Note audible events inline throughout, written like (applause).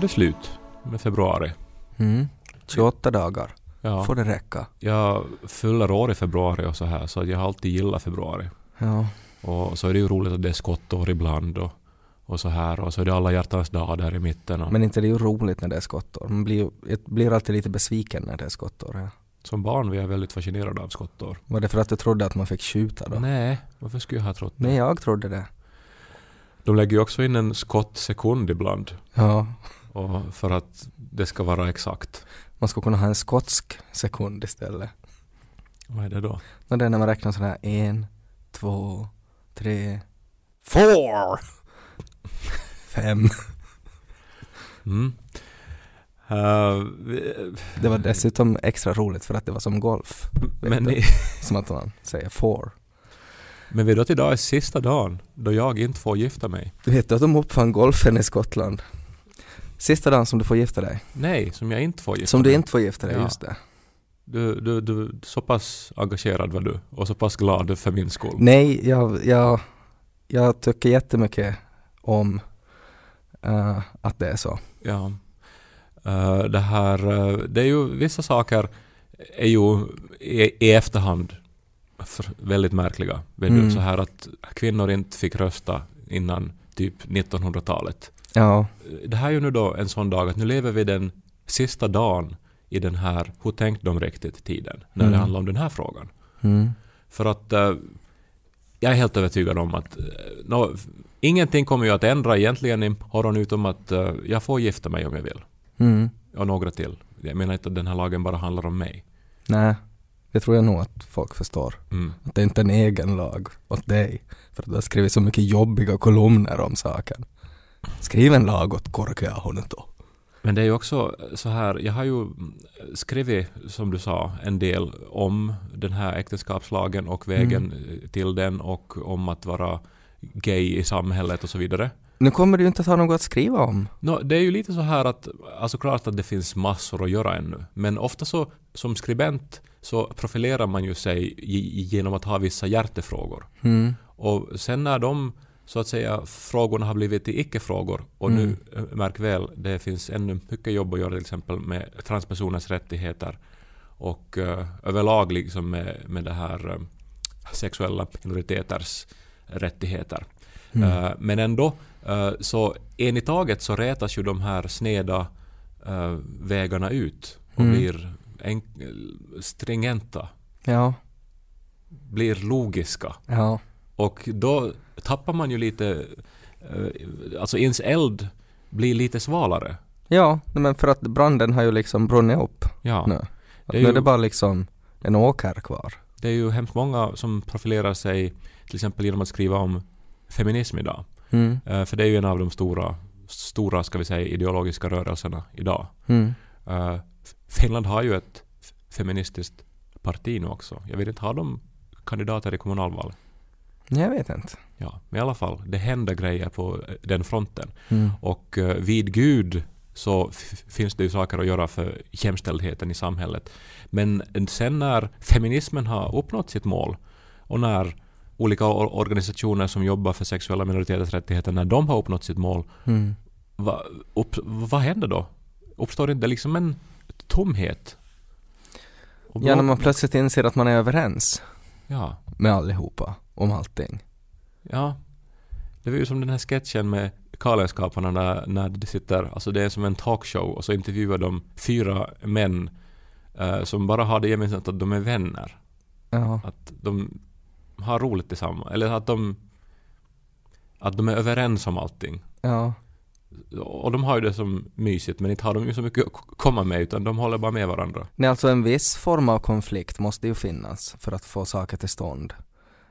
det slut med februari. Mm. 28 dagar Ja, får det räcka. jag fyller år i februari och så här så att jag har alltid gillat februari. Ja. Och så är det ju roligt att det är skottår ibland och, och så här och så är det alla hjärtans dag där i mitten. Och, Men inte det är ju roligt när det är skottår. Man blir, ju- jag blir alltid lite besviken när det är skottår. Ja. som barn var jag väldigt fascinerad av skottår. Var det för att du trodde att man fick skjuta då? Nej, varför skulle jag ha trott det? Nej, jag trodde det. De lägger ju också in en skottsekund ibland Ja. och för att det ska vara exakt. Man skulle kunna ha en skotsk sekund istället. Vad är det då? Och det är när man räknar sådär en, två, tre, four, fem. Mm. Eh, vi- Det var dessutom extra roligt för att det var som golf. Vet men, du? i- Som att man säger four. men vi då att idag är sista dagen då jag inte får gifta mig. Du vet att de uppfann golfen i Skottland? Sista dagen som du får gifta dig. Nej, som jag inte får gifta Som mig. du inte får gifta dig, Ja. just det. Du, du, du, så pass engagerad var du och så pass glad för min skull. Nej, jag, jag, jag tycker jättemycket om eh, att det är så. Ja. Eh, det här, eh, det är ju vissa saker är ju i, i efterhand för, väldigt märkliga. Vet du, Mm. så här att kvinnor inte fick rösta innan typ 1900-talet. Ja, Eh, Det här är ju nu då en sån dag att nu lever vi den sista dagen i den här hur tänkte de riktigt tiden när det Mm. handlar om den här frågan. mm. För att eh, jag är helt övertygad om att eh, nå, ingenting kommer ju att ändra egentligen imorgon utom att eh, jag får gifta mig om jag vill Mm. och några till. Jag menar inte att den här lagen bara handlar om mig. nej, det tror jag nog att folk förstår. Mm. Att det är inte är en egen lag åt dig. För att du har skrivit så mycket jobbiga kolumner om saken. Skriv en lag åt Korkeahonen då. Men det är ju också så här, jag har ju mm, skrivit, som du sa, en del om den här äktenskapslagen och vägen till den och om att vara gay i samhället och så vidare. Nu kommer du ju inte att ha något att skriva om. Nå, det är ju lite så här att, alltså klart att det finns massor att göra ännu, men ofta så som skribent så profilerar man ju sig ge- genom att ha vissa hjärtefrågor. Mm. Och sen när de så att säga frågorna har blivit till icke-frågor och Mm. nu eh, märk väl, det finns ännu mycket jobb att göra till exempel med transpersoners rättigheter och eh, överlag liksom med, med det här eh, sexuella minoriteters rättigheter. Mm. Eh, Men ändå, eh, så en i taget så rätas ju de här sneda eh, vägarna ut och Mm. blir enk- stringenta, Ja, blir logiska. ja. Och då tappar man ju lite, eh, alltså ens eld blir lite svalare. Ja, nej, men för att branden har ju liksom brunnit upp Ja, nu. Att Det är nu ju- är det bara liksom en åker kvar. det är ju hemskt många som profilerar sig till exempel genom att skriva om feminism idag. Mm. Eh, För det är ju en av de stora, stora ska vi säga, ideologiska rörelserna idag. Mm. Eh, Finland har ju ett f- feministiskt parti nu också. Jag vet inte, har de kandidater i kommunalval? Nej, Jag vet inte. Ja, men i alla fall, det händer grejer på eh, den fronten. Mm. Och eh, vid Gud så f- finns det ju saker att göra för jämställdheten i samhället. Men sen när feminismen har uppnått sitt mål och när olika or- organisationer som jobbar för sexuella minoriteters rättigheter, när de har uppnått sitt mål, Mm. va, upp, vad händer då? Uppstår inte liksom en tomhet? Och Ja, när blå- man plötsligt inser att man är överens ja, med allihopa om allting. ja. Det var ju som den här sketchen med Galenskaparna när, när det sitter, alltså det är som en talkshow och så intervjuar de fyra män eh, som bara har det gemensamt att de är vänner. Ja. Att de har roligt tillsammans, eller att de att de är överens om allting. ja. Och de har ju det som mysigt men inte har de ju så mycket att k- komma med utan de håller bara med varandra. Nej, alltså en viss form av konflikt måste ju finnas för att få saker till stånd.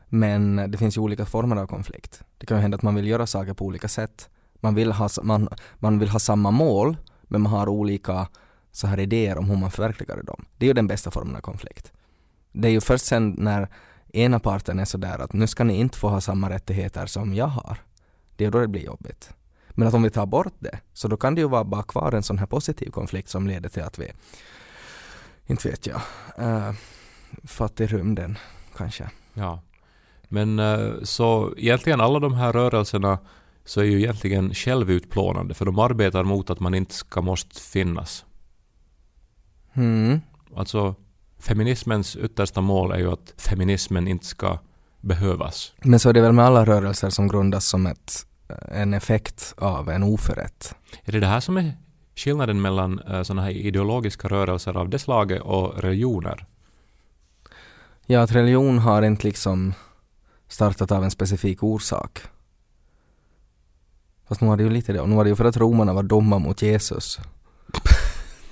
Men det finns ju olika former av konflikt. Det kan ju hända att man vill göra saker på olika sätt. Man vill ha, man, man vill ha samma mål, men man har olika så här idéer om hur man förverkligar dem. Det är ju den bästa formen av konflikt. Det är ju först sen när ena parten är sådär att nu ska ni inte få ha samma rättigheter som jag har. Det är då det blir jobbigt. Men att om vi tar bort det, så då kan det ju vara bara kvar en sån här positiv konflikt som leder till att vi inte vet jag. Uh, fattig rymden kanske. Ja. Men eh, så egentligen alla de här rörelserna så är ju egentligen självutplånande för de arbetar mot att man inte ska måste finnas. Mm. Alltså feminismens yttersta mål är ju att feminismen inte ska behövas. Men så är det väl med alla rörelser som grundas som ett, eh, en effekt av en oförrätt. Är det det här som är skillnaden mellan eh, sådana här ideologiska rörelser av det slaget och religioner? Ja, att religion har inte liksom startat av en specifik orsak. Fast nu var det ju lite det, och nu var det ju för att romarna var dumma mot (laughs) Jesus.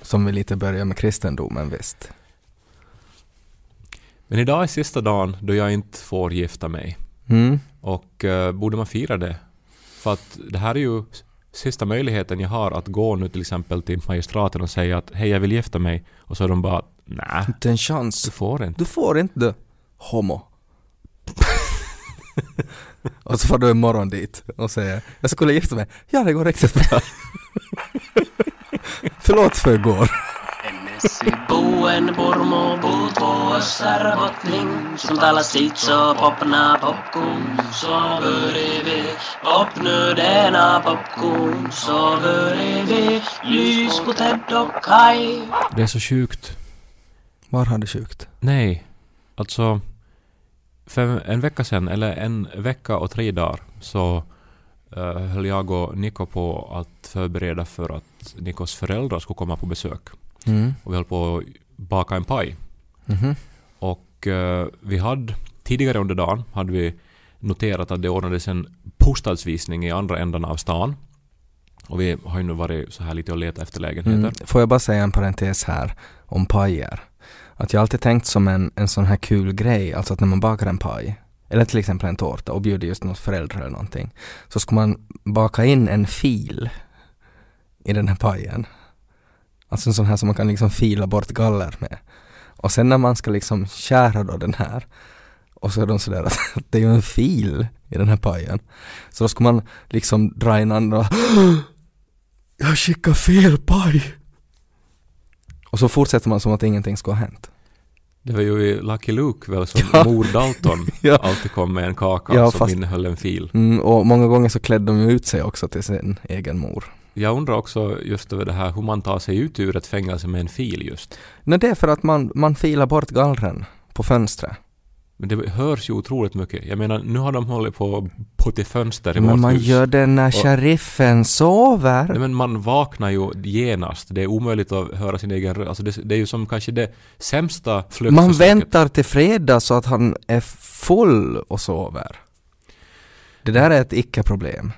Som vi lite börjar med kristendomen visst. Men idag är sista dagen då jag inte får gifta mig. Mm. Och eh, borde man fira det? För att det här är ju s- sista möjligheten jag har att gå nu till exempel till magistraten och säga att hej jag vill gifta mig och så är de bara nej, Inte en du chans. får inte. Du får inte du. Homo. (laughs) och så får du imorgon dit och säger jag skulle gifta mig. Ja, det går riktigt bra. (laughs) Förlåt för igår. Messi buen purmu puuttua sarvotling. Sun talasit so popna popkuun. So vörivi popnödena popkuun. So vörivi lysputedokkai. Det är så sjukt. Var har du sjukt? Nej, alltså för en vecka sedan, eller en vecka och tre dagar, så eh, höll jag och Niko på att förbereda för att Nikos föräldrar skulle komma på besök. Mm. Och vi höll på att baka en paj. Mhm. Och eh, vi hade tidigare under dagen hade vi noterat att det ordnades en bostadsvisning i andra änden av stan. Och vi har ju nu varit så här lite och letat efter lägenheter. Mm. Får jag bara säga en parentes här om pajer? Att jag alltid tänkt som en, en sån här kul grej, alltså att när man bakar en paj, eller till exempel en tårta och bjuder just något föräldrar eller någonting, så ska man baka in en fil i den här pajen. Alltså en sån här som man kan liksom fila bort galler med. Och sen när man ska liksom skära då den här, och så är de sådär att (laughs) det är ju en fil i den här pajen. Så då ska man liksom dra in andra jag skickar fel paj! Och så fortsätter man som att ingenting ska ha hänt. Det var ju i Lucky Luke väl som (laughs) Ja. mor Dalton Ja. alltid kom med en kaka Ja, som fast- innehöll en fil. Mm, och många gånger så klädde de ju ut sig också till sin egen mor. Jag undrar också just över det här hur man tar sig ut ur ett fängelse med en fil just. Nej, det är för att man, man filar bort gallren på fönstret. Men det hörs ju otroligt mycket. Jag menar, nu har de hållit på på till fönster i vårt Men man hus. gör det när sheriffen sover. Nej, men man vaknar ju genast. Det är omöjligt att höra sin egen röst. Alltså det, det är ju som kanske det sämsta man flyktförsöket. väntar till fredag så att han är full och sover. Det där är ett icke-problem.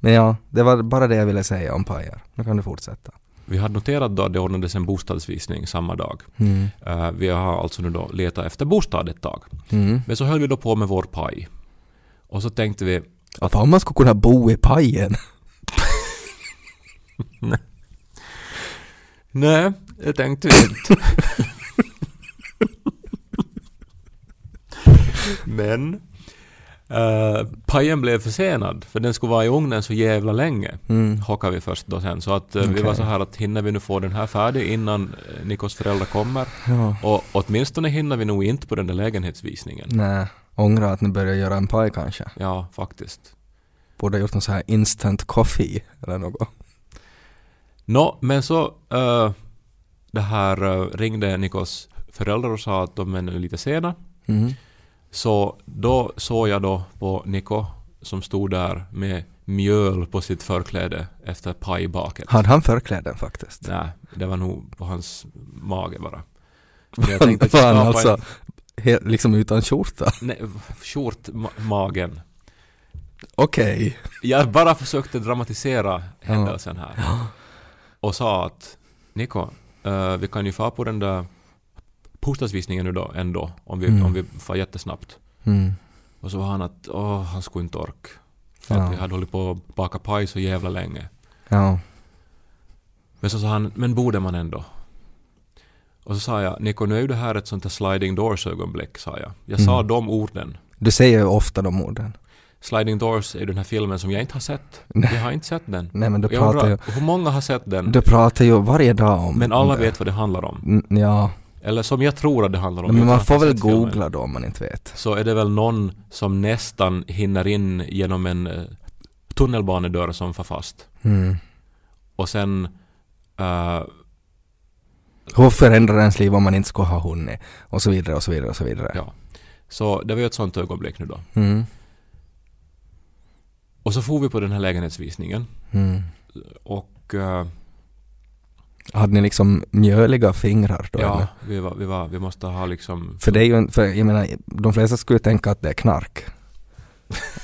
Men ja, det var bara det jag ville säga om pajer. Nu kan du fortsätta. Vi hade noterat då att det ordnades en bostadsvisning samma dag. Mm. Eh, vi har alltså nu då letat efter bostad ett tag. Mm. Men så höll vi då på med vår paj. Och så tänkte vi, Fan om man skulle kunna bo i pajen. nej, det tänkte vi inte. (laughs) Men eh, pajen blev försenad, för den skulle vara i ugnen så jävla länge. Mm. hakar vi först då sen. Så att eh, vi Okej. var så här att hinner vi nu få den här färdig innan eh, Nikos föräldrar kommer? Ja. Och åtminstone hinner vi nog inte på den där lägenhetsvisningen. Nej, ångrar att ni började göra en paj kanske. Ja, faktiskt. Borde ha gjort någon så här instant coffee eller något. Nå, men så eh, det här eh, ringde Nikos föräldrar och sa att de är nu lite sena. Mm. Så då såg jag då på Niko som stod där med mjöl på sitt förkläde efter pajbaket. Hade han förkläden faktiskt? Nej, det var nog på hans mage bara. Men jag Var (laughs) tänkte att jag han skapar en- alltså he- liksom (laughs) utan skjorta? Nej, shortmagen. Okej. Jag bara försökte dramatisera händelsen här. Och sa att Niko, eh, vi kan ju få på den där bostadsvisningen nu då ändå om vi, Mm. om vi får jättesnabbt. Mm. Och så var han att åh, han skulle inte orka. För Ja. att vi hade hållit på att baka paj så jävla länge. Ja. Men så sa han, men borde man ändå? Och så sa jag, Niko nu är ju det här ett sånt här sliding doors ögonblick, sa jag. Jag sa Mm. de orden. Du säger ju ofta de orden. Sliding doors är den här filmen som jag inte har sett. Jag har inte sett den. Nej men du Jag pratar, ju, undrar, hur många har sett den? du pratar ju varje dag om Men alla det. vet vad det handlar om. Mm, Ja, Eller som jag tror att det handlar om. men utan man att får ha väl sett filmen. googla då om man inte vet. Så är det väl någon som nästan hinner in genom en eh, tunnelbanedörr som far fast. Mm. Och sen eh, Hur förändrar ens liv om man inte skulle ha hunnit? Och så vidare och så vidare och så vidare. Ja. Så det var ju ett sånt ögonblick nu då. Mm. Och så får vi på den här lägenhetsvisningen Mm. och eh, Hade ni liksom mjöliga fingrar då? ja, eller? vi, var, vi, var, vi måste ha liksom... För det är ju en, för jag menar, de flesta skulle ju tänka att det är knark.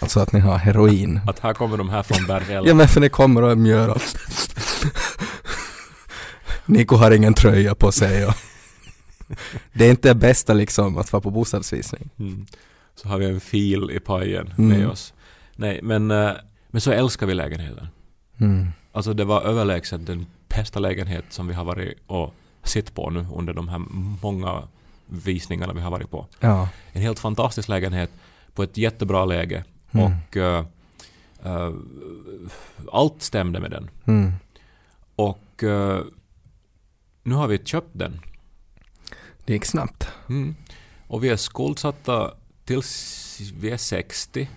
Alltså att ni har heroin. Att här kommer de här från Berghäll. (laughs) Ja men för ni kommer och är mjöra. Niko har ingen tröja på sig och Det är inte det bästa liksom att vara på bostadsvisning. Mm. Så har vi en fil i pajen Mm. med oss. Nej, men, eh, men så älskar vi lägenheten. Mm. Alltså det var överlägset den bästa lägenhet som vi har varit och sett på nu under de här många visningarna vi har varit på. Ja. En helt fantastisk lägenhet på ett jättebra läge Mm. och eh, eh, allt stämde med den. Mm. Och eh, nu har vi köpt den. Det gick snabbt. Mm. Och vi är skuldsatta tills vi är 60.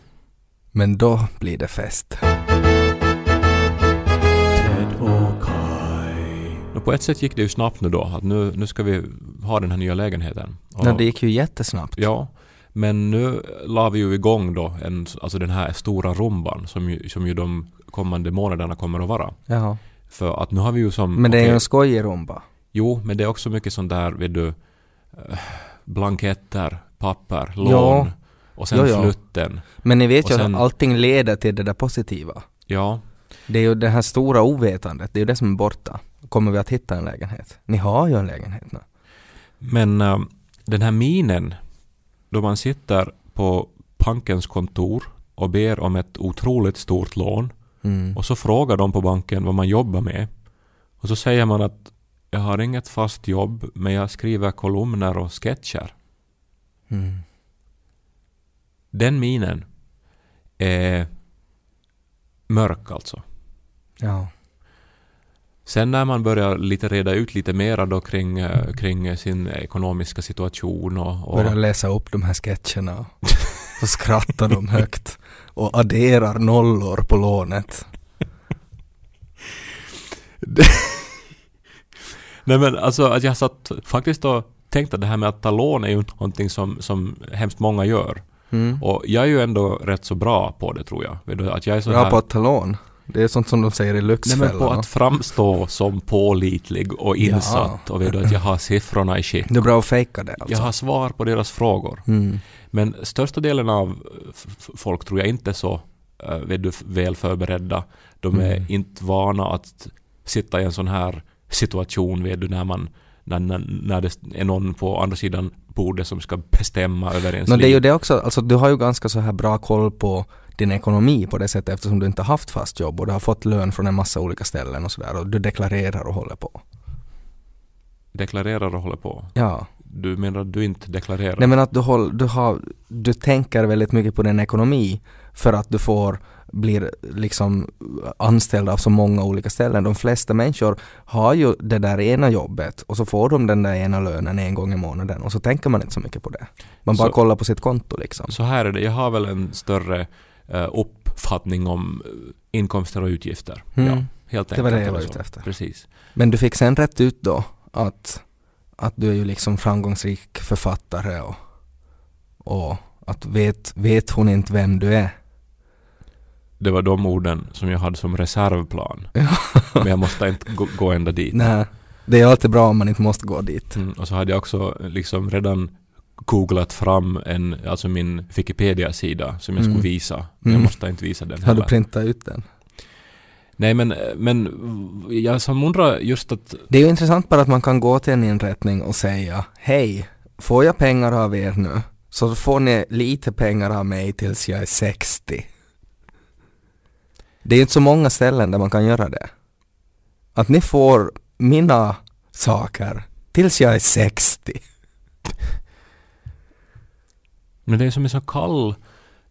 Men då blir det fest. Och på ett sätt gick det ju snabbt nu då, att nu, nu ska vi ha den här nya lägenheten. Och- Nej, det gick ju jättesnabbt. Ja, men nu la vi ju igång då en, alltså den här stora rumban som ju, som ju de kommande månaderna kommer att vara. Jaha. För att nu har vi ju som... Men det är ju okej, en skojig rumba. Jo, men det är också mycket sånt där, vet du, eh, blanketter, papper, lån Ja. och sen Jo, ja. flytten. Men ni vet Och ju sen- att allting leder till det där positiva. Ja, Det är ju det här stora ovetandet, det är ju det som är borta. Kommer vi att hitta en lägenhet? Ni har ju en lägenhet nu. men eh, den här minen då man sitter på bankens kontor och ber om ett otroligt stort lån Mm. Och så frågar de på banken vad man jobbar med. Och så säger man att jag har inget fast jobb men jag skriver kolumner och sketcher. Mm. Den minen är mörk alltså. Ja. Sen när man börjar lite reda ut lite mera då kring, eh, kring sin ekonomiska situation och, och Börjar läsa upp de här sketcherna. Så skrattar de högt. Och adderar nollor på lånet. Nej men alltså att jag satt faktiskt och tänkte att det här med att ta lån är ju någonting som, som hemskt många gör. Mm. Och jag är ju ändå rätt så bra på det tror jag. Vet du, Att jag är så Bra här... på att ta lån. Det är sånt som de säger i Nej, men på Lyxfällan. att framstå som pålitlig och insatt och vet du att jag har siffrorna i skick. Det är bra att fejka det alltså. Jag har svar på deras frågor. Mm. Men största delen av eh, f- f- folk tror jag inte är så eh, vet du, f- väl förberedda. De är Mm. inte vana att sitta i en sån här situation vet du, när, man, när, när, när det är någon på andra sidan bordet som ska bestämma över ens Men det är liv. ju det också, alltså du har ju ganska så här bra koll på din ekonomi på det sättet eftersom du inte har haft fast jobb och du har fått lön från en massa olika ställen och sådär och du deklarerar och håller på. Deklarerar och håller på. Ja. Du menar att du inte deklarerar? Nej men att du, håll, du, har, du tänker väldigt mycket på din ekonomi för att du får blir liksom anställd av så många olika ställen. De flesta människor har ju det där ena jobbet och så får de den där ena lönen en gång i månaden och så tänker man inte så mycket på det. Man bara Så- kollar på sitt konto liksom. Så här är det, jag har väl en större eh, uppfattning om eh, inkomster och utgifter. Mm. Ja, helt Det enkelt. var det jag är var så. ute efter. Precis. Men du fick sen rätt ut då att, att du är ju liksom framgångsrik författare och, och att vet, vet hon inte vem du (laughs) är? Det var de orden som jag hade som (laughs) reservplan. Men jag måste inte gå, gå ända dit. Nej, det är alltid bra om man inte måste gå dit. Mm, och så hade jag också liksom redan googlat fram en, alltså min Wikipedia-sida som jag Mm. skulle visa. Men Mm. Jag måste inte visa den Har du heller. printat ut den? Nej men, eh, men jag som undrar just att Det är ju intressant bara att man kan gå till en inrättning och säga Hej, får jag pengar av er nu så får ni lite pengar av mig tills jag är 60. Det är ju inte så många ställen där man kan göra det. Att ni får mina saker tills jag är 60. Men det är som en så kall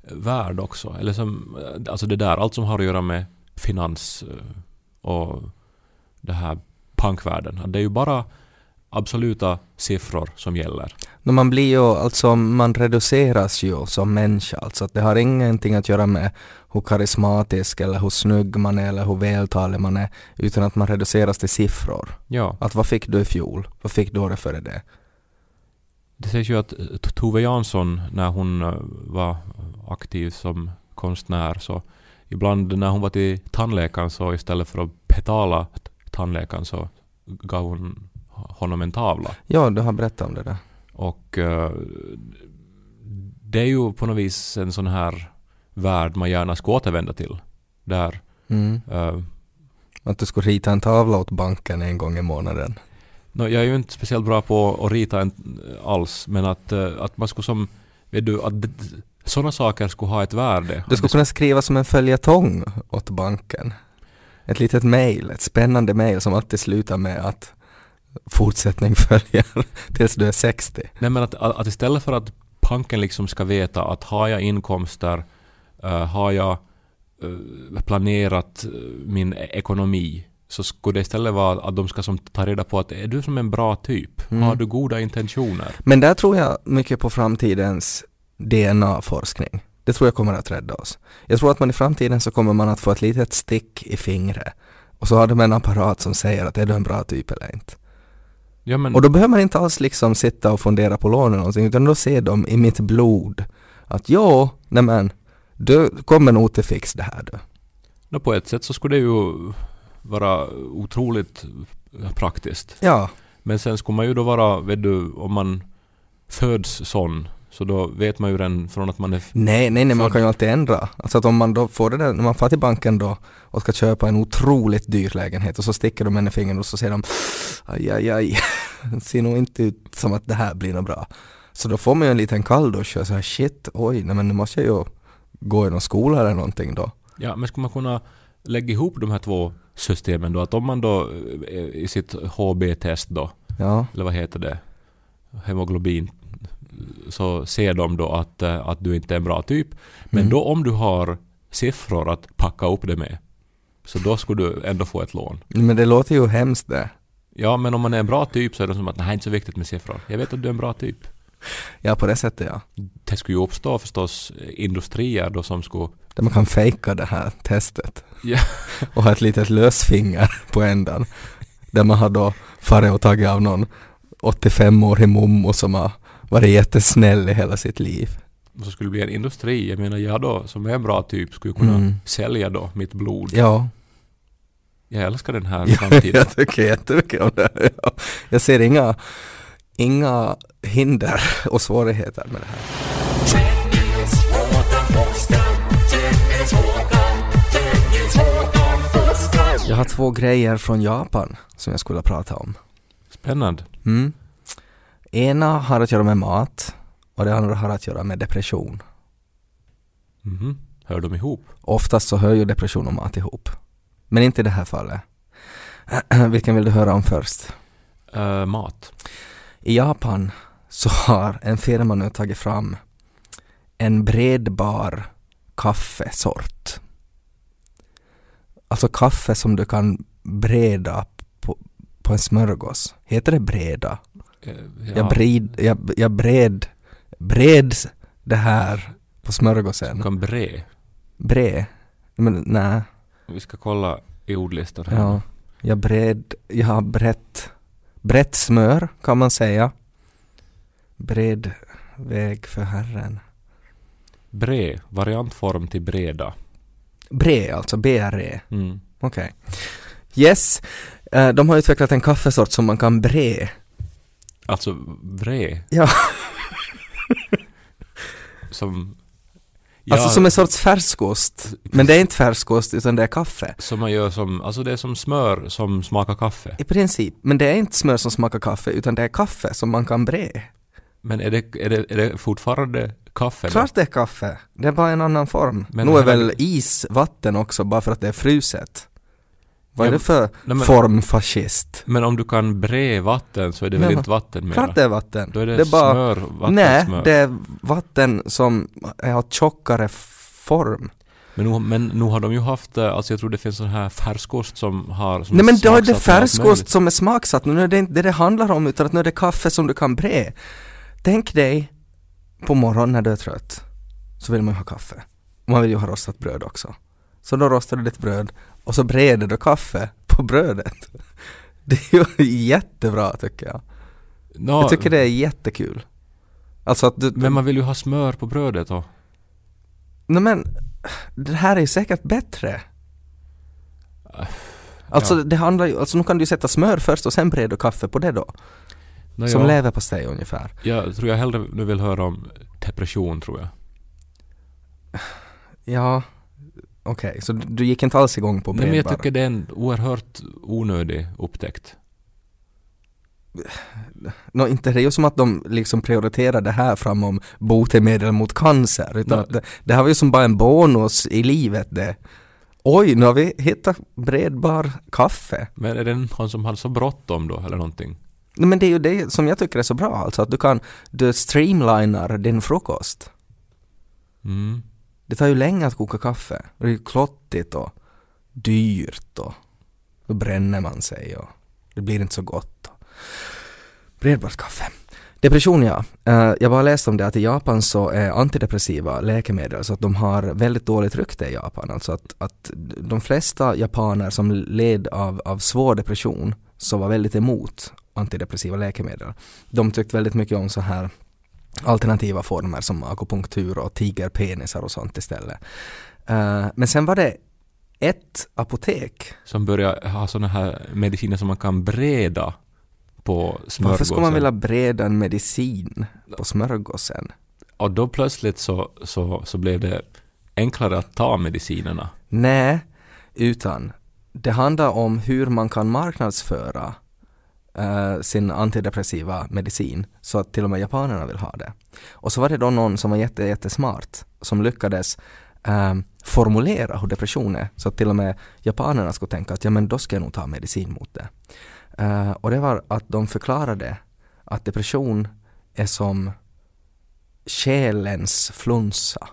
värld också. Eller som, eh, alltså det där, allt som har att göra med finans eh, och det här bankvärlden. Det är ju bara absoluta siffror som gäller. No, man blir ju, alltså man reduceras ju som människa, alltså att det har ingenting att göra med hur karismatisk eller hur snygg man är eller hur vältalig man är, utan att man reduceras till siffror. Ja. Att vad fick du i fjol? Vad fick du året före det? Det sägs ju att eh, Tove Jansson, när hon eh, var aktiv som konstnär, så ibland när hon var till tandläkaren så istället för att betala t- tandläkaren så gav hon honom en tavla. Ja, du har berättat om det där. Och eh, det är ju på något vis en sån här värld man gärna ska återvända till. Där Mm. eh, Att du skulle rita en tavla åt banken en gång i månaden. Nå, jag är ju inte speciellt bra på att rita en, alls, men att, eh, att man skulle som... Vet du, att sådana saker skulle ha ett värde. Du skulle kunna skriva som en följetong åt banken. Ett litet mejl, ett spännande mejl som alltid slutar med att fortsättning följer (laughs) tills du är 60. Nej, men att, att att istället för att banken liksom ska veta att har jag inkomster, eh, har jag eh, planerat eh, min e- ekonomi, så skulle det istället vara att de ska som ta reda på att är du som en bra typ? Mm. Har du goda intentioner? Men där tror jag mycket på framtidens DNA-forskning. Det tror jag kommer att rädda oss. Jag tror att man i framtiden så kommer man att få ett litet stick i fingret och så har de en apparat som säger att är du en bra typ eller inte. Ja, men, Och då behöver man inte alls liksom sitta och fundera på lån eller någonting utan då ser de i mitt blod att ja, nämen, du kommer nog till fix det här du. nå, på ett sätt så skulle det ju vara otroligt praktiskt. Ja, Men sen skulle man ju då vara, vet du, om man föds sån, så då vet man ju den från att man är... f- nej, nej, nej, man Född. kan ju alltid ändra. Alltså att om man då får det där, när man far till banken då och ska köpa en otroligt dyr lägenhet och så sticker de en i fingret och så säger de aj, aj, aj, (laughs) det ser nog inte ut som att det här blir något bra. Så då får man ju en liten kalldusch och så här shit, oj, nej men nu måste jag ju gå i någon skola eller någonting då. Ja, men skulle man kunna lägga ihop de här två systemen då? Att om man då eh, i sitt HB-test då, Ja. eller vad heter det, hemoglobin, så ser de då att, eh, att du inte är en bra typ. Men Mm. då om du har siffror att packa upp det med, så då skulle du ändå få ett lån. Men det låter ju hemskt det. Ja, men om man är en bra typ så är det som att nej, inte så viktigt med siffror. Jag vet att du är en bra typ. Ja, på det sättet ja. det skulle ju uppstå förstås eh, industrier då som skulle... Där man kan fejka det här testet. Ja. Och ha ett litet lösfinger (laughs) på ändan. Där man har då farit och tagit av någon 85-årig mommo som har varit jättesnäll i hela sitt liv. Så skulle det bli en industri. Jag menar jag då som är en bra typ skulle kunna Mm. sälja då mitt blod. Ja, (laughs) Jag älskar den här ja framtiden. jag tycker jättemycket om det. här, Ja. Jag ser inga, inga hinder (laughs) och svårigheter med det här. Jag har två grejer från Japan som jag skulle prata om. Spännande. Mm. Ena har att göra med mat och det andra har att göra med depression. Mhm. Hör de ihop? Oftast så hör ju depression och mat ihop. Men inte i det här fallet. (clears throat) Vilken vill du höra om först? Eh, mat. I Japan så har en firma nu tagit fram en bredbar kaffesort. Alltså kaffe som du kan breda på, på en smörgås. Heter det breda? Eh, Jag, bred, jag, jag bred, bred det här på smörgåsen. Kan bre. Bre. Men nej, Vi ska kolla i ordlistan här. ja. Jag bred, jag har brett, brett smör kan man säga. Bred väg för Herren. Bre. Variantform till breda. Bre alltså, B-R-E. Mm. Okej. Yes, eh, de har utvecklat en kaffesort som man kan bre. Alltså bre. Ja. (laughs) som... Alltså Ja, som en sorts färskost. Men det är inte färskost utan det är kaffe. Som man gör som... Alltså det är som smör som smakar kaffe. I princip, men det är inte smör som smakar kaffe utan det är kaffe som man kan bre. Men är det, är det, är det fortfarande kaffe? då? Klart det är kaffe, det är bara en annan form. Men nu är hela- väl is vatten också bara för att det är fruset. Vad är Ja, det för Nej, men, formfascist? men om du kan bre vatten så är det väl Ja, inte vatten mera? Klart det är vatten. Då är det, det är bara- smör, vatten, Nej, smör. det är vatten som har tjockare form. Men, nu, men nu har de ju haft, eh, alltså jag tror det finns sån här färskost som har... Som Nej men då är det smaksatt med allt färskost möjligt. som är smaksatt, nu är det inte det det handlar om utan att nu är det kaffe som du kan bre. Tänk dig på morgonen när du är trött så vill man ju ha kaffe. Man vill ju ha rostat bröd också. Så då rostar du ditt bröd och så breder du kaffe på brödet. Det är ju (laughs) jättebra tycker jag. Nå, Jag tycker det är jättekul. Alltså att du... Men man vill ju ha smör på brödet och... Nej men, det här är ju säkert bättre. Äh, Alltså det handlar ju, alltså nu kan du ju sätta smör först och sen breder du kaffe på det då. Nå, Som ja. leverpastej ungefär. Jag tror jag hellre nu vill höra om depression tror jag. Ja, okej, så du, du gick inte alls igång på Nej, men jag bredbar? tycker det är en oerhört onödig upptäckt. Nå, inte det är ju som att de liksom prioriterar det här framom botemedel mot cancer, utan Nej. att det, det här var ju som bara en bonus i livet det. Oj, nu har vi hittat bredbar kaffe. Men är det någon som har så bråttom då eller någonting? Nej, men det är ju det som jag tycker är så bra, alltså att du kan, du streamlinar din frukost. Mm. Det tar ju länge att koka kaffe. Det är ju klottigt och dyrt och då bränner man sig och det blir inte så gott. Bredbart kaffe. Depression ja. Eh, Jag bara läste om det att i Japan så är antidepressiva läkemedel så att de har väldigt dåligt rykte i Japan. Alltså att, att de flesta japaner som led av, av svår depression så var väldigt emot antidepressiva läkemedel. De tyckte väldigt mycket om så här alternativa former som akupunktur och tigerpenisar och sånt istället. Eh, men sen var det ett apotek. Som börjar ha såna här mediciner som man kan breda på smörgåsen. Varför skulle man vilja breda en medicin på smörgåsen? Och då plötsligt så, så, så blev det enklare att ta medicinerna. Nej, utan det handlar om hur man kan marknadsföra eh, sin antidepressiva medicin så att till och med japanerna vill ha det. Och så var det då någon som var jätte, jättesmart som lyckades eh, formulera hur depression är så att till och med japanerna skulle tänka att ja men då ska jag nog ta medicin mot det. Eh, och det var att de förklarade att depression är som själens flunsa.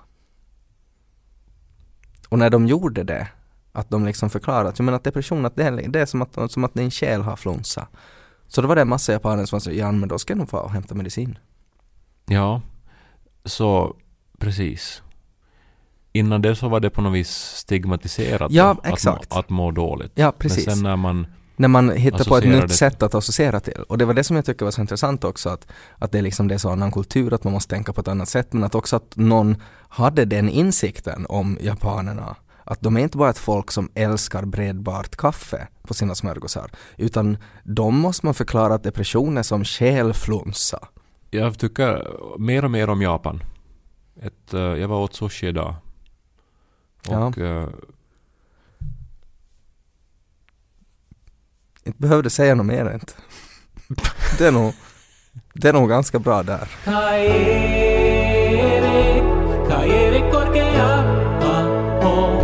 Och när de gjorde det, att de liksom förklarade att, jag menar att depression, att det, är, det är som att, som att din själ har flunsa. Så då var det en massa japaner som sa, ja men då ska jag nog få och hämta medicin. Ja, så precis. Innan det så var det på något vis stigmatiserat Ja, då, exakt. Att, må, att må dåligt. Ja, precis. Men sen när man... när man hittar på ett Associera nytt det. sätt att associera till. Och det var det som jag tycker var så intressant också, att, att det, liksom, det är så annan kultur, att man måste tänka på ett annat sätt, men att också att någon hade den insikten om japanerna, att de är inte bara ett folk som älskar bredbart kaffe på sina smörgåsar, utan de måste man förklara att depression är som själflunsa. Jag tycker mer och mer om Japan. Ett, eh, jag var åt sushi idag. Och eh, Inte behövde säga något mer inte. Det är nog, det är nog ganska bra där. Caeré, caeré porque abajo,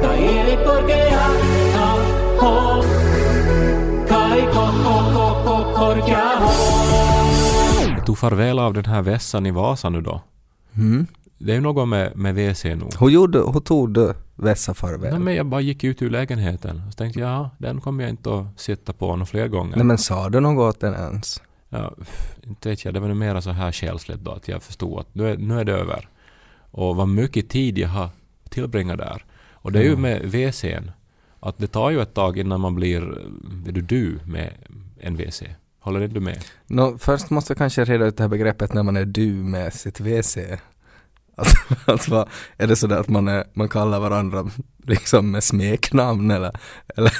caeré porque abajo, cae co co co co porque jag tog farväl av den här vässan i Vasa nu då. Mm. Det är ju något med, med WC nog. Hur, gjorde, hur tog du vässa farväl? Nej, men jag bara gick ut ur lägenheten och så tänkte jag, ja, den kommer jag inte att sitta på några fler gånger. Nej men sa du något åt den ens? Ja, pff, inte vet jag, det var nog mera så här själsligt då att jag förstod att nu är, nu är det över. Och vad mycket tid jag har tillbringat där. Och det är Mm. ju med WCn, att det tar ju ett tag innan man blir, eh, är du du med en WC? Håller inte du med? Nå, först måste vi kanske reda ut det här begreppet när man är du med sitt WC. Alltså, (laughs) alltså vad- är det sådär att man, är, man kallar varandra liksom med smeknamn eller, eller,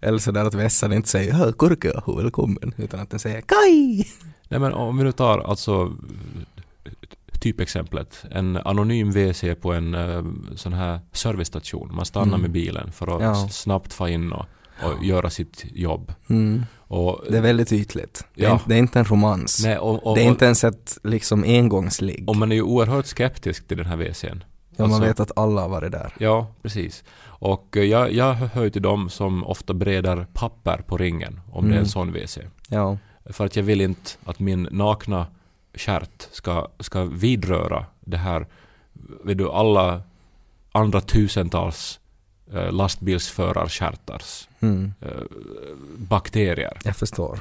eller sådär att vässan inte säger "Hör, kurka, hur välkommen” utan att den säger ”Kaj!” Nej men om vi nu tar alltså eh, typexemplet, en anonym WC på en eh, sån här servicestation. Man stannar Mm. med bilen för att Ja. s- snabbt få in och, och göra sitt jobb. mm. Och, Det är väldigt ytligt. Det, är, Ja. inte- det är inte en romans. nej, och, och, det är inte ens ett liksom engångsligg. Och man är ju oerhört skeptisk till den här WCn. ja, man alltså- vet att alla har varit där. Ja, precis. Och eh, jag, jag hör ju till dem som ofta bredar papper på ringen om det är Mm. en sån WC. Ja. För att jag vill inte att min nakna stjärt ska, ska vidröra det här, vet du, alla andra tusentals eh, lastbilsförarstjärtars Mm. bakterier. Jag förstår.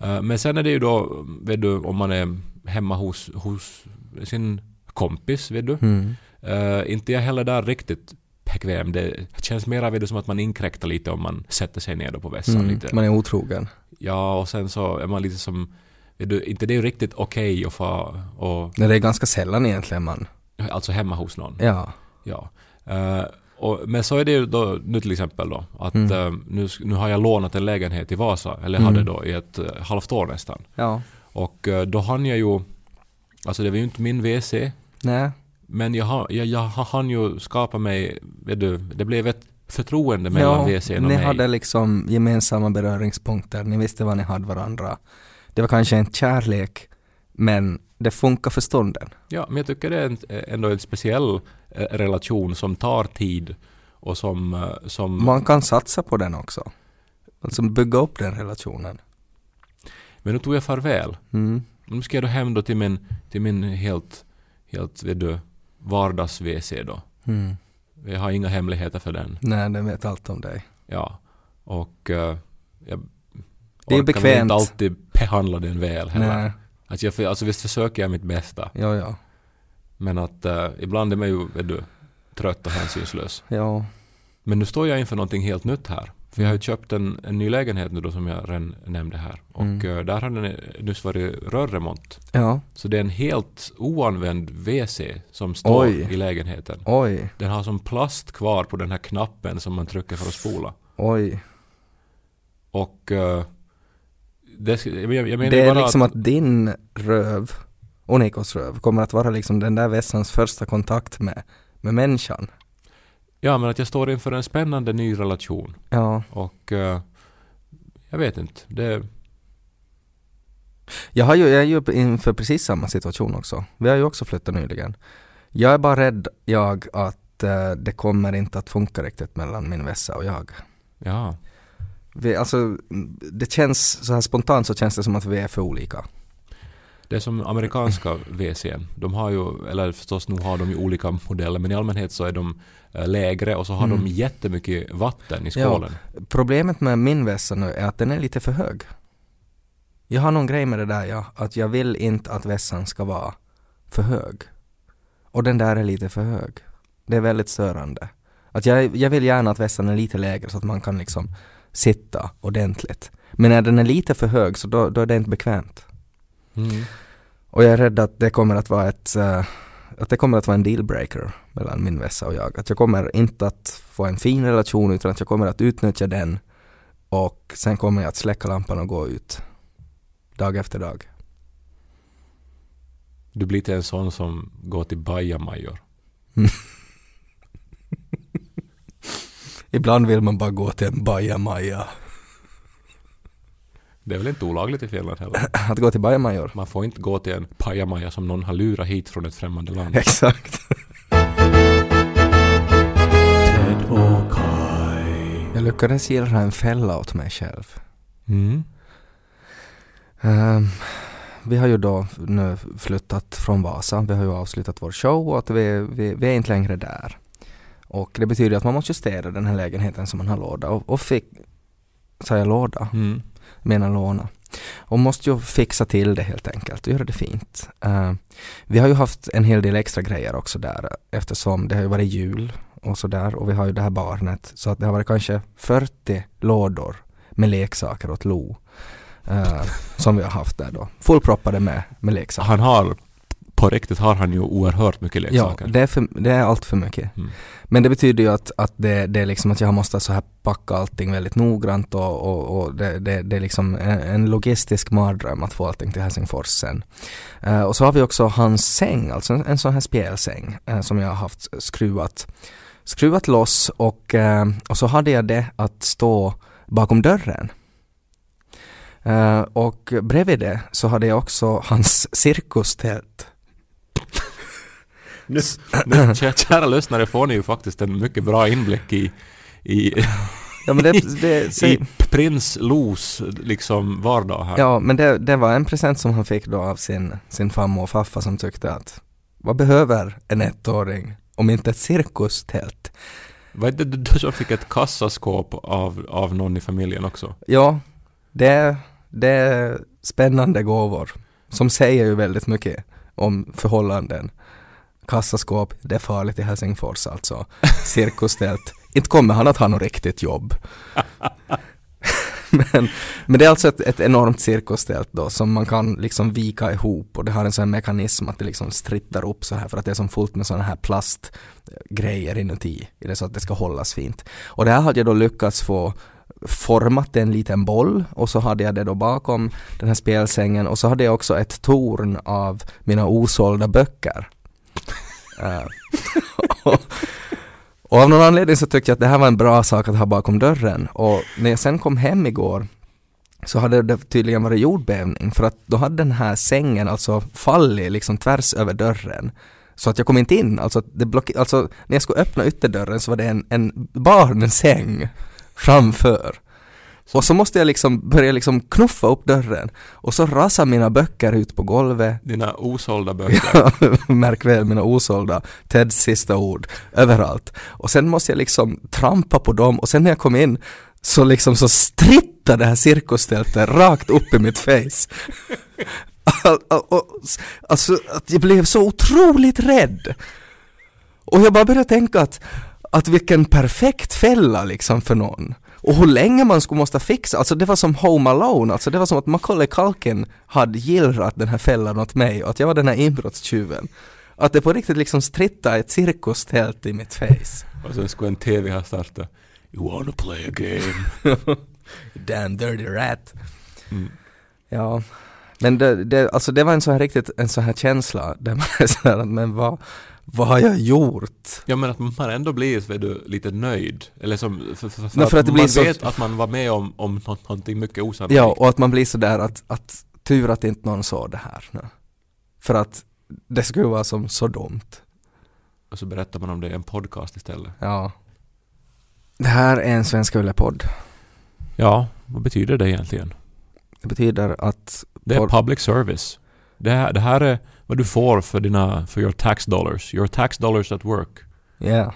Eh, Men sen är det ju då, vet du, om man är hemma hos, hos sin kompis, vet du. Mm. Eh, inte jag heller där riktigt bekväm. Det känns mera vet du, som att man inkräktar lite om man sätter sig ner då på vässan Mm. lite. Man är otrogen. Ja, och sen så är man lite som, vet du, inte det är ju riktigt okej att få, och, Nej, Det är ganska sällan egentligen man, alltså hemma hos någon. ja. Ja. Eh, och, men så är det ju då, nu till exempel då, att Mm. eh, nu, sk- nu har jag lånat en lägenhet i Vasa, eller hade Mm. då i ett eh, halvt år nästan. Ja. Och eh, då hann jag ju, alltså det var ju inte min WC, Nej. men jag, ha- jag, jag ha- hann ju skapa mig, vet du, det blev ett förtroende mellan ja, WCn och ni mig. hade liksom gemensamma beröringspunkter, ni visste vad ni hade varandra. Det var kanske inte kärlek, men det funkar för stunden. Ja, men jag tycker det är en, ändå en speciell eh, relation som tar tid och som, eh, som Man kan satsa på den också. Alltså bygga upp den relationen. men nu tog jag farväl. Mm. Nu ska jag då hem då till min, till min helt, helt vet du, vardags-WC då. Mm. Jag har inga hemligheter för den. Nej, den vet allt om dig. Ja. Och eh, jag Det är orkar väl bekvämt. inte alltid behandla den väl heller. Nej, Alltså, jag, alltså visst försöker jag mitt bästa. ja, ja. Men att eh, ibland är man ju vet du, trött och hänsynslös. Ja, Men nu står jag inför någonting helt nytt här. För jag har ju köpt en, en ny lägenhet nu då som jag redan nämnde här. Och Mm. eh, där har den nyss varit rörremont. ja. Så det är en helt oanvänd WC som står Oj. i lägenheten. oj, Den har som plast kvar på den här knappen som man trycker för att spola. oj. Och eh, det, sk- jag, jag menar Det ju är bara liksom att, din röv och Nikos röv kommer att vara liksom den där vässans första kontakt med, med människan. Ja, men att jag står inför en spännande ny relation. Ja. Och eh, jag vet inte. Det, Jag, har ju, jag är ju inför precis samma situation också. Vi har ju också flyttat nyligen. Jag är bara rädd jag att eh, det kommer inte att funka riktigt mellan min vässa och jag. ja. Vi, alltså, mm, det känns så här spontant så känns det som att vi är för olika. Det är som amerikanska WCn. De har ju, eller förstås nu har de ju olika modeller, men i allmänhet så är de eh, lägre och så har Mm. de jättemycket vatten i Ja. skålen. Problemet med min vässa nu är att den är lite för hög. Jag har någon grej med det där ja, att jag vill inte att vässan ska vara för hög. Och den där är lite för hög. Det är väldigt störande. Att jag, jag vill gärna att vässan är lite lägre så att man kan liksom sitta ordentligt. Men när den är lite för hög så då, då är det inte bekvämt. Mm. Och jag är rädd att det kommer att vara ett eh, att det kommer att vara en dealbreaker mellan min vässa och jag. Att jag kommer inte att få en fin relation utan att jag kommer att utnyttja den och sen kommer jag att släcka lampan och gå ut. Dag efter dag. Du blir inte en sån som går till bajamajor. Ibland vill man bara gå till en bajamaja. Det är väl inte olagligt i Finland heller? (laughs) Att gå till bajamajor. Man får inte gå till en pajamaja som någon har lurat hit från ett främmande land. (laughs) Exakt. Ted och Kai. Jag lyckades gillra en fälla åt mig själv. Mm. Ehm, vi har ju då nu flyttat från Vasa, vi har ju avslutat vår show och att vi, vi, vi är inte längre där. Och det betyder att man måste städa den här lägenheten som man har låda och, och fick, sa jag låda? Mm. menar låna. Och måste ju fixa till det helt enkelt och göra det fint. Eh, vi har ju haft en hel del extra grejer också där eftersom det har ju varit jul och sådär och vi har ju det här barnet så att det har varit kanske 40 lådor med leksaker åt Lo eh, som vi har haft där då. Fullproppade med, med leksaker. Han har, på riktigt har han ju oerhört mycket leksaker. Ja, det är, för, det är allt för mycket. Mm. Men det betyder ju att, att det, det är liksom att jag måste så här packa allting väldigt noggrant och, och, och det, det, det är liksom en, en logistisk mardröm att få allting till Helsingfors sen. Eh, och så har vi också hans säng, alltså en, en sån här spjälsäng eh, som jag har haft skruvat, skruvat loss och, eh, och så hade jag det att stå bakom dörren. Eh, och bredvid det så hade jag också hans cirkustält. Nu, nu, kära, kära lyssnare får ni ju faktiskt en mycket bra inblick i, i, Ja, men det, det, i prins Los liksom vardag här. Ja, men det, det var en present som han fick då av sin, sin farmor och faffa som tyckte att vad behöver en ettåring om inte ett cirkustält? Var det inte du som fick ett kassaskåp av, av någon i familjen också? Ja, det, det är spännande gåvor som säger ju väldigt mycket om förhållanden. Kassaskåp, det är farligt i Helsingfors alltså. Cirkustält, inte kommer han att ha något riktigt jobb. (laughs) men, men det är alltså ett, ett enormt cirkustält då som man kan liksom vika ihop och det har en sån här mekanism att det liksom strittar upp så här för att det är som fullt med såna här plastgrejer inuti. i Det så att det ska hållas fint. Och det här hade jag då lyckats få format en liten boll och så hade jag det då bakom den här spelsängen och så hade jag också ett torn av mina osålda böcker. (laughs) Eh, och, och av någon anledning så tyckte jag att det här var en bra sak att ha bakom dörren och när jag sen kom hem igår så hade det tydligen varit jordbävning för att då hade den här sängen alltså fallit liksom tvärs över dörren så att jag kom inte in, alltså, det block- alltså när jag skulle öppna ytterdörren så var det en, en barnsäng framför. Och så måste jag liksom börja liksom knuffa upp dörren och så rasar mina böcker ut på golvet. (laughs) Dina osålda böcker. Märk väl mina osålda Teds sista ord överallt. Och sen måste jag liksom trampa på dem och sen när jag kom in så liksom så strittade det här cirkustältet rakt upp i mitt face. (laughs) Al- al- och- Alltså att jag blev så otroligt rädd. Och jag bara började tänka att, att vilken perfekt fälla liksom för någon. Och hur länge man skulle måste fixa, alltså det var som Home Alone, alltså det var som att Macaulay Culkin hade gillrat den här fällan åt mig och att jag var den här inbrottstjuven. Att det på riktigt liksom strittade ett cirkustält i mitt face. (laughs) Och sen skulle en TV ha startat. You wanna play a game? Damn dirty rat. Mm. Ja. Men det, det, alltså det var en sån här riktigt, en sån här känsla där man är såhär att men vad, vad har jag gjort? Ja men att man ändå blir vet du, lite nöjd. Eller som, för, för, för, Nej, för att det blir man så- vet att man var med om, om nå- någonting mycket osannolikt. Ja, och att man blir sådär att, att tur att inte någon sa det här nu. För att det skulle vara som så dumt. Och så berättar man om det i en podcast istället. Ja. Det här är en Svenska Yle-podd. Ja, vad betyder det egentligen? Det betyder att Det är Pod- public service. Det här, det här är vad du får för dina, för your tax dollars. Your tax dollars at work. Yeah.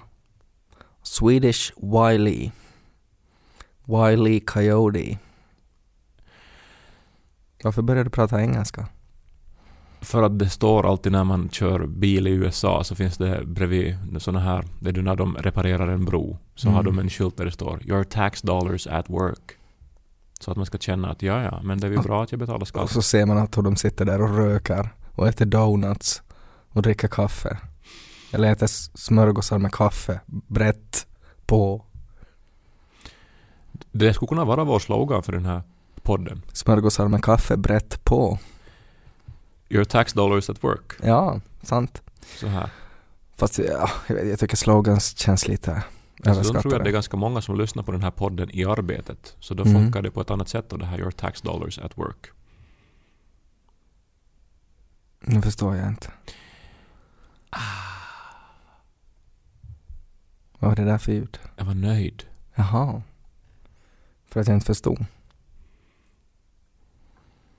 Swedish Wiley. Wiley Coyote. Varför började du prata engelska? För att det står alltid när man kör bil i USA så finns det bredvid sådana här, det är ju när de reparerar en bro, så Mm. har de en skylt där det står “Your tax dollars at work”. Så att man ska känna att ja, ja, men det är ju bra att jag betalar Och skatt. så ser man att hur de sitter där och rökar och äter donuts och dricker kaffe. Eller äter s- smörgåsar med kaffe brett på. Det skulle kunna vara vår slogan för den här podden. Smörgåsar med kaffe brett på. “Your tax dollars at work”. Ja, sant. Så här. Alltså, Fast ja, jag, vet, jag tycker slogans känns lite Alltså, då tror jag att det är överskattade. ganska många som lyssnar på den här podden i arbetet. Så då Mm. funkar det på ett annat sätt och det här “Your tax dollars at work”. Nu förstår jag inte. Ah. Vad var det där för ljud? Jag var nöjd. Jaha. För att jag inte förstod.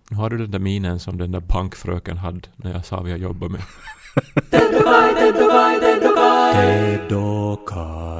Nu har du den där minen som den där bankfröken hade när jag sa vad jag jobbar med. Ted Okai.